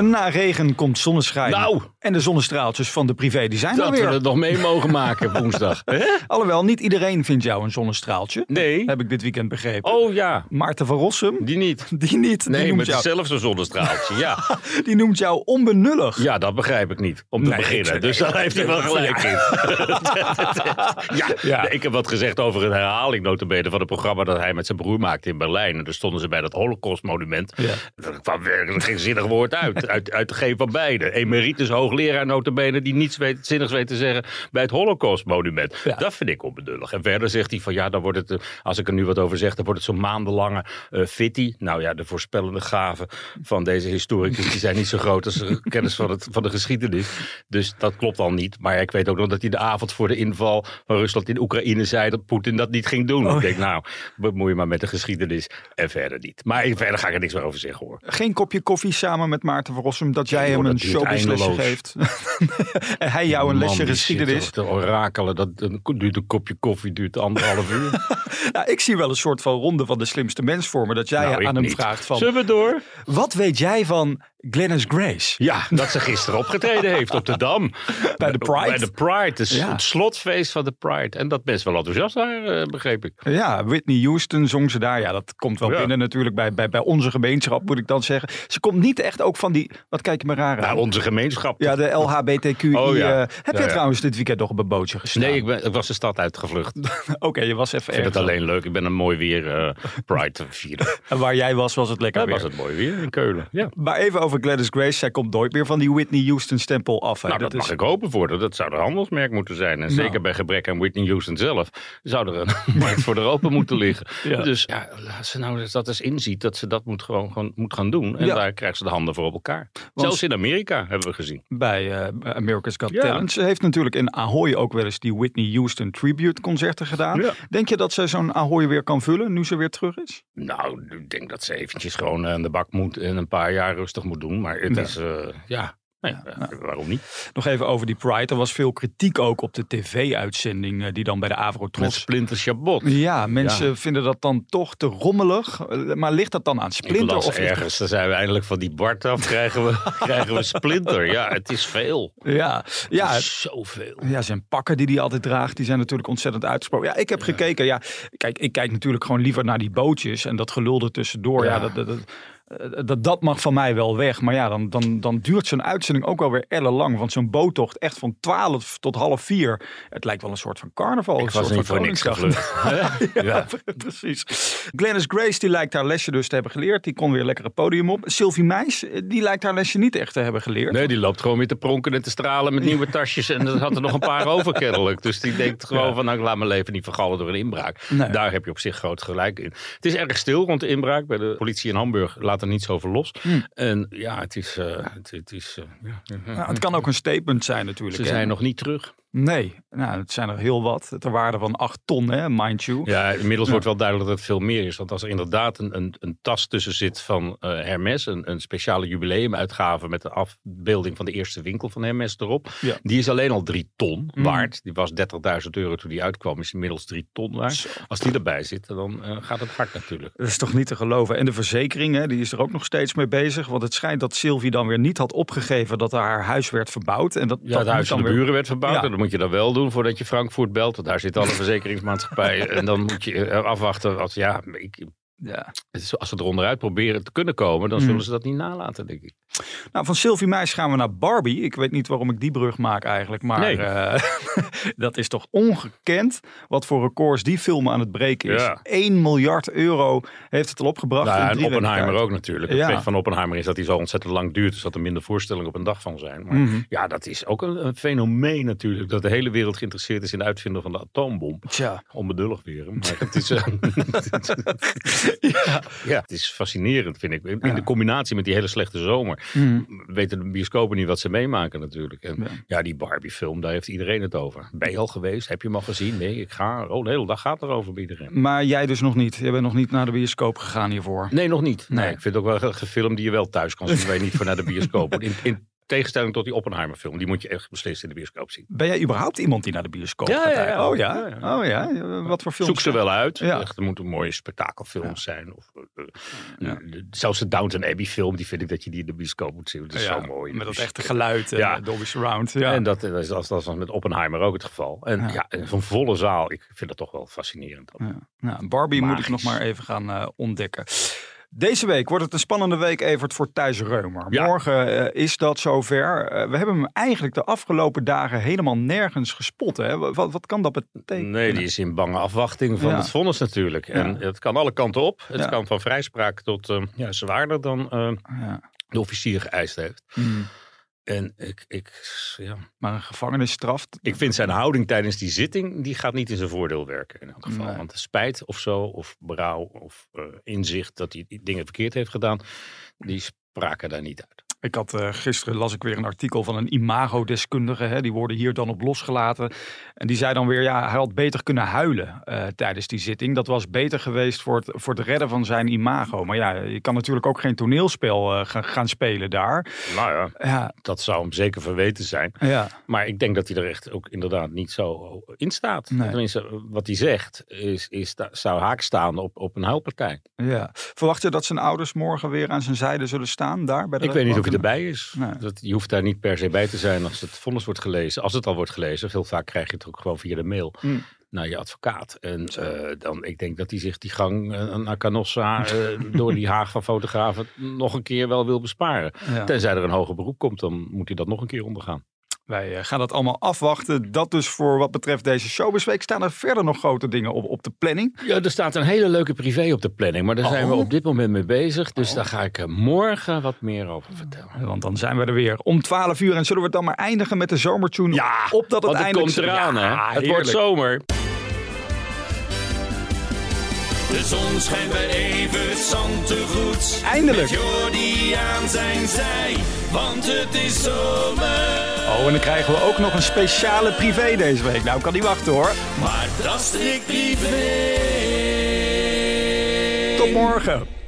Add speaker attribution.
Speaker 1: Na regen komt zonneschijn.
Speaker 2: Nou.
Speaker 1: En de zonnestraaltjes van de privé die zijn er
Speaker 2: Dat we
Speaker 1: weer.
Speaker 2: het nog mee mogen maken woensdag. Hè?
Speaker 1: Alhoewel, niet iedereen vindt jou een zonnestraaltje.
Speaker 2: Nee.
Speaker 1: Heb ik dit weekend begrepen.
Speaker 2: Oh ja,
Speaker 1: Maarten van Rossum,
Speaker 2: die niet.
Speaker 1: die niet. die,
Speaker 2: Nee,
Speaker 1: noemt
Speaker 2: met
Speaker 1: jou,
Speaker 2: zelfs een zonnestraaltje. Ja.
Speaker 1: die noemt jou onbenullig.
Speaker 2: ja, dat begrijp ik niet. Om te
Speaker 1: Nee,
Speaker 2: beginnen.
Speaker 1: ik-
Speaker 2: Dus daar heeft hij wel gelijk in. ja,
Speaker 1: Ja.
Speaker 2: ik heb wat gezegd over een herhaling notabene van het programma dat hij met zijn broer maakte in Berlijn. En daar stonden ze bij dat holocaustmonument.
Speaker 1: Ja.
Speaker 2: Er kwam werkelijk geen zinnig woord uit. Uit, uit geen van beiden. Emeritus hoogleraar notabene die niets weet, zinnigs weet te zeggen bij het holocaustmonument.
Speaker 1: Ja.
Speaker 2: Dat vind ik onbedullig. En verder zegt hij van ja, dan wordt het, eh, als ik er nu wat over zeg, dan wordt het zo'n maandenlange eh fitty. Nou ja, de voorspellende gaven van deze historicus die zijn niet zo groot als de kennis van, het, van de geschiedenis. Dus dat klopt al niet. Maar ik weet ook nog dat hij de avond voor de inval van Rusland in Oekraïne zei dat Poetin dat niet ging
Speaker 1: Oh,
Speaker 2: doen. ik denk nou, bemoei je maar met de geschiedenis en verder niet. Maar ik- verder ga ik er niks meer over zeggen hoor.
Speaker 1: Geen kopje koffie samen met Maarten van Rossum dat jij
Speaker 2: joh,
Speaker 1: hem een
Speaker 2: dat duurt
Speaker 1: showbizlesje
Speaker 2: eindeloos.
Speaker 1: geeft. en hij jou een
Speaker 2: Man,
Speaker 1: lesje
Speaker 2: die
Speaker 1: geschiedenis.
Speaker 2: zit toch Te orakelen, dat een- duurt een kopje koffie, duurt anderhalf uur.
Speaker 1: Nou, ik zie wel een soort van ronde van de slimste mens voor me. Dat jij
Speaker 2: Nou, ik
Speaker 1: aan hem
Speaker 2: niet.
Speaker 1: vraagt van,
Speaker 2: Zullen we door?
Speaker 1: wat weet jij van Glennis Grace?
Speaker 2: Ja, dat ze gisteren opgetreden heeft op de Dam.
Speaker 1: Bij de Pride.
Speaker 2: Bij de Pride, dus
Speaker 1: Ja.
Speaker 2: het slotfeest van de Pride. En dat best wel enthousiast waren, eh, begreep ik.
Speaker 1: Ja, Whitney Houston zong ze daar. Ja, dat komt wel
Speaker 2: Ja.
Speaker 1: binnen natuurlijk bij, bij, bij onze gemeenschap, moet ik dan zeggen. Ze komt niet echt ook van die... Wat kijk je me raar aan?
Speaker 2: Nou, onze gemeenschap.
Speaker 1: ja, de LHBTQI.
Speaker 2: Oh, ja.
Speaker 1: eh,
Speaker 2: Ja,
Speaker 1: heb je
Speaker 2: ja.
Speaker 1: trouwens dit weekend nog op een bootje gestaan?
Speaker 2: Nee, ik, ben, ik was de stad uitgevlucht. Ik
Speaker 1: Oké, je was even
Speaker 2: vind
Speaker 1: ergens.
Speaker 2: het alleen leuk. Ik ben een mooi weer eh, Pride te vieren.
Speaker 1: En waar jij was, was het lekker
Speaker 2: Daar
Speaker 1: weer. Nou,
Speaker 2: was het mooi weer in Keulen. Ja.
Speaker 1: Maar even over Gladys Grace. Zij komt nooit meer van die Whitney Houston stempel af. hè.
Speaker 2: Nou, dat, mag ik hopen voor. haar. Dat zou een handelsmerk moeten zijn. En
Speaker 1: Nou.
Speaker 2: zeker bij gebrek aan Whitney Houston zelf zou er een markt voor Europa moeten liggen.
Speaker 1: Ja.
Speaker 2: Dus ja, laat ze nou eens dat eens inziet dat ze dat moet gewoon, gewoon moet gaan doen. En
Speaker 1: Ja.
Speaker 2: daar krijgt ze de handen voor op elkaar. Zelfs in Amerika hebben we gezien.
Speaker 1: bij eh, America's Got
Speaker 2: Ja.
Speaker 1: Talent. Ze heeft natuurlijk in Ahoy ook wel eens die Whitney Houston tribute concerten gedaan.
Speaker 2: Ja.
Speaker 1: Denk je dat ze zo'n Ahoy weer kan vullen nu ze weer terug is?
Speaker 2: Nou, ik denk dat ze eventjes gewoon aan de bak moet en een paar jaar rustig moet doen. Maar het
Speaker 1: Ja.
Speaker 2: is, eh, ja, nou ja, waarom niet?
Speaker 1: Nog even over die Pride. Er was veel kritiek ook op de tv-uitzending eh, die dan bij de Avro
Speaker 2: Met
Speaker 1: Tros...
Speaker 2: Splinter Chabot.
Speaker 1: Ja, mensen vinden dat dan toch te rommelig. Eh, Maar ligt dat dan aan
Speaker 2: Ik
Speaker 1: Splinter?
Speaker 2: las
Speaker 1: Of ligt-
Speaker 2: ergens, dan zijn we eindelijk van die Bart af, krijgen we, krijgen we Splinter. Ja, het is veel.
Speaker 1: Ja,
Speaker 2: Ja,
Speaker 1: ja,
Speaker 2: zoveel.
Speaker 1: ja, zijn pakken die hij altijd draagt, die zijn natuurlijk ontzettend uitgesproken. Ja, ik heb gekeken. Ja, kijk, ik kijk natuurlijk gewoon liever naar die bootjes en dat gelul er tussendoor. Ja,
Speaker 2: Ja.
Speaker 1: dat, dat, dat, eh, dat, dat mag van mij wel weg. Maar ja, dan, dan, dan duurt zo'n uitzending ook wel weer ellenlang. Want zo'n boottocht echt van 12 tot half 4. Het lijkt wel een soort van carnaval.
Speaker 2: Ik
Speaker 1: een
Speaker 2: was
Speaker 1: soort
Speaker 2: niet
Speaker 1: van
Speaker 2: voor niks
Speaker 1: Koningsdag.
Speaker 2: gevlucht. Hè?
Speaker 1: Ja,
Speaker 2: ja.
Speaker 1: precies. Glennis Grace, die lijkt haar lesje dus te hebben geleerd. Die kon weer lekker het podium op. Sylvie Meis, eh, die lijkt haar lesje niet echt te hebben geleerd.
Speaker 2: Nee, die loopt gewoon weer te pronken en te stralen met nieuwe tasjes. En er had er nog een paar over kennelijk. Dus die denkt gewoon van, nou, ik laat mijn leven niet vergallen door een inbraak.
Speaker 1: Nee.
Speaker 2: Daar heb je op zich groot gelijk in. Het is erg stil rond de inbraak. Bij de politie in Hamburg laat er niets over los. En ja, het is... eh, het, het is eh, Hmm. ja.
Speaker 1: Nou, het kan ook een statement zijn natuurlijk.
Speaker 2: Ze
Speaker 1: hè.
Speaker 2: zijn nog niet terug.
Speaker 1: Nee, nou, het zijn er heel wat. Ter waarde van 8 ton, hè, mind you.
Speaker 2: Ja, inmiddels wordt wel duidelijk dat het veel meer is. Want als er inderdaad een, een, een tas tussen zit van eh, Hermes, een, een speciale jubileumuitgave met de afbeelding van de eerste winkel van Hermes erop,
Speaker 1: Ja. Mm.
Speaker 2: die is alleen al drie ton waard. Die was 30.000 euro toen die uitkwam, is inmiddels drie ton waard. Als die erbij zit, dan eh, gaat het hard natuurlijk.
Speaker 1: Dat is toch niet te geloven. En de verzekering, hè, die is er ook nog steeds mee bezig. Want het schijnt dat Sylvie dan weer niet had opgegeven dat haar huis werd verbouwd. En dat,
Speaker 2: Ja,
Speaker 1: dat
Speaker 2: het huis
Speaker 1: moet
Speaker 2: van
Speaker 1: dan
Speaker 2: de
Speaker 1: weer-
Speaker 2: buren werd verbouwd.
Speaker 1: Ja.
Speaker 2: En dat moet je dan wel doen voordat je Frankfurt belt. Want daar zit alle verzekeringsmaatschappij. en dan moet je eh, afwachten. Als, ja, ik,
Speaker 1: Ja.
Speaker 2: het is- als ze er onderuit proberen te kunnen komen,
Speaker 1: Mm.
Speaker 2: dan zullen ze dat niet nalaten, denk ik.
Speaker 1: Nou, van Sylvie Meis gaan we naar Barbie. Ik weet niet waarom ik die brug maak eigenlijk. Maar
Speaker 2: Nee.
Speaker 1: eh, dat is toch ongekend wat voor records die film aan het breken is.
Speaker 2: Ja.
Speaker 1: 1 miljard euro heeft het al opgebracht.
Speaker 2: Nou,
Speaker 1: in
Speaker 2: ja, en
Speaker 1: drie weken
Speaker 2: Oppenheimer
Speaker 1: tijd.
Speaker 2: ook natuurlijk. Het
Speaker 1: Ja.
Speaker 2: pech van Oppenheimer is dat hij zo ontzettend lang duurt. Dus dat er minder voorstellingen op een dag van zijn. Maar ja, dat is ook een, een fenomeen natuurlijk. Dat de hele wereld geïnteresseerd is in het uitvinden van de atoombom.
Speaker 1: Tja.
Speaker 2: Onbedullig weer. hè, Maar het is, eh, Ja, het is fascinerend, vind ik. In in de combinatie met die hele slechte zomer. Weten de bioscopen niet wat ze meemaken natuurlijk. En Mhm. ja, die Barbie-film, daar heeft iedereen het over. Ben je al geweest? Heb je hem al gezien? Nee, ik ga. Oh, de hele dag gaat erover bij iedereen.
Speaker 1: Maar jij dus nog niet. Jij bent nog niet naar de bioscoop gegaan hiervoor.
Speaker 2: Nee, nog niet. Nee,
Speaker 1: Nee.
Speaker 2: ik vind het ook wel een- een film die je wel thuis kan zien. Waar je niet voor naar de bioscoop moet. In, in tegenstelling tot die Oppenheimer-film. Die moet je echt beslist in de bioscoop zien.
Speaker 1: Ben jij überhaupt iemand die naar de bioscoop
Speaker 2: Ja,
Speaker 1: gaat?
Speaker 2: ja, ja.
Speaker 1: eigenlijk? Oh ja?
Speaker 2: Ja, ja.
Speaker 1: Oh ja? Ja, Wat voor films?
Speaker 2: Zoek ze wel uit.
Speaker 1: Ja.
Speaker 2: Echt, er moeten mooie spektakelfilms zijn. Of, eh, eh, de- Zelfs de Downton Abbey film, die vind ik dat je die in de bioscoop moet zien. Dat is
Speaker 1: Ja,
Speaker 2: zo mooi.
Speaker 1: Met dat
Speaker 2: Dus-
Speaker 1: echte geluid. en
Speaker 2: Ja.
Speaker 1: Dolby Surround. Ja.
Speaker 2: En dat, dat, is, dat was met Oppenheimer ook het geval. En ja, en zo'n volle zaal, ik vind dat toch wel fascinerend.
Speaker 1: Ja. Nou, Barbie moet ik nog
Speaker 2: Magisch.
Speaker 1: maar even gaan eh, ontdekken. Deze week wordt het een spannende week, Evert, voor Thijs Reumer.
Speaker 2: Ja.
Speaker 1: Morgen eh, is dat zover. Eh, we hebben hem eigenlijk de afgelopen dagen helemaal nergens gespot. Hè? Wat, wat kan dat betekenen?
Speaker 2: Nee, die is in bange afwachting van
Speaker 1: Ja.
Speaker 2: het vonnis natuurlijk. En het kan alle kanten op. Het
Speaker 1: Ja.
Speaker 2: kan van vrijspraak tot eh, ja, zwaarder dan eh,
Speaker 1: Ja.
Speaker 2: de officier geëist heeft.
Speaker 1: Mm.
Speaker 2: En ik, ik, ja.
Speaker 1: Maar een gevangenisstraf,
Speaker 2: ik vind zijn houding tijdens die zitting, die gaat niet in zijn voordeel werken in elk geval.
Speaker 1: Nee.
Speaker 2: Want spijt of zo, of berouw, of eh, inzicht dat hij dingen verkeerd heeft gedaan, die spraken daar niet uit.
Speaker 1: Ik had eh, gisteren las ik weer een artikel van een imagodeskundige. Hè, die worden hier dan op losgelaten. En die zei dan weer, ja, hij had beter kunnen huilen eh, tijdens die zitting. Dat was beter geweest voor het, voor het redden van zijn imago. Maar ja, je kan natuurlijk ook geen toneelspel eh, gaan, gaan spelen daar.
Speaker 2: Nou ja,
Speaker 1: Ja,
Speaker 2: dat zou hem zeker verweten zijn.
Speaker 1: ja.
Speaker 2: Maar ik denk dat hij er echt ook inderdaad niet zo in staat.
Speaker 1: Nee.
Speaker 2: Tenminste, wat hij zegt is, is, da- zou haak staan op, op een huilpartij.
Speaker 1: Ja. Verwacht je dat zijn ouders morgen weer aan zijn zijde zullen staan daar? Bij de
Speaker 2: Ik weet niet of hij
Speaker 1: rechtbank?
Speaker 2: erbij is.
Speaker 1: Nee.
Speaker 2: Dat, je hoeft daar niet per se bij te zijn als het vonnis wordt gelezen. Als het al wordt gelezen, veel vaak krijg je het ook gewoon via de mail
Speaker 1: Hm.
Speaker 2: naar je advocaat. En eh, dan, ik denk dat hij zich die gang eh, naar Canossa eh, door die haag van fotografen nog een keer wel wil besparen.
Speaker 1: Ja.
Speaker 2: Tenzij er een hoger beroep komt, dan moet hij dat nog een keer ondergaan.
Speaker 1: Wij eh, gaan dat allemaal afwachten. Dat dus voor wat betreft deze showbesweek. Staan er verder nog grote dingen op, op de planning?
Speaker 2: Ja, er staat een hele leuke privé op de planning, maar daar zijn we
Speaker 1: Oh.
Speaker 2: op dit moment mee bezig. Dus daar ga ik eh, morgen wat meer over vertellen.
Speaker 1: Want dan zijn we er weer om 12 uur. En zullen we het dan maar eindigen met de zomertune?
Speaker 2: Ja,
Speaker 1: op dat het
Speaker 2: Want het
Speaker 1: eindelijk
Speaker 2: komt eraan, hè?
Speaker 1: Ja,
Speaker 2: Het wordt
Speaker 1: heerlijk.
Speaker 2: zomer.
Speaker 3: De zon schijnt bij Evert Zantegoed.
Speaker 1: Eindelijk.
Speaker 3: Met Jordi aan zijn zij, want het is zomer.
Speaker 1: Oh, en dan krijgen we ook nog een speciale privé deze week. Nou, ik kan niet wachten hoor.
Speaker 3: Maar dat strikt privé.
Speaker 1: Tot morgen.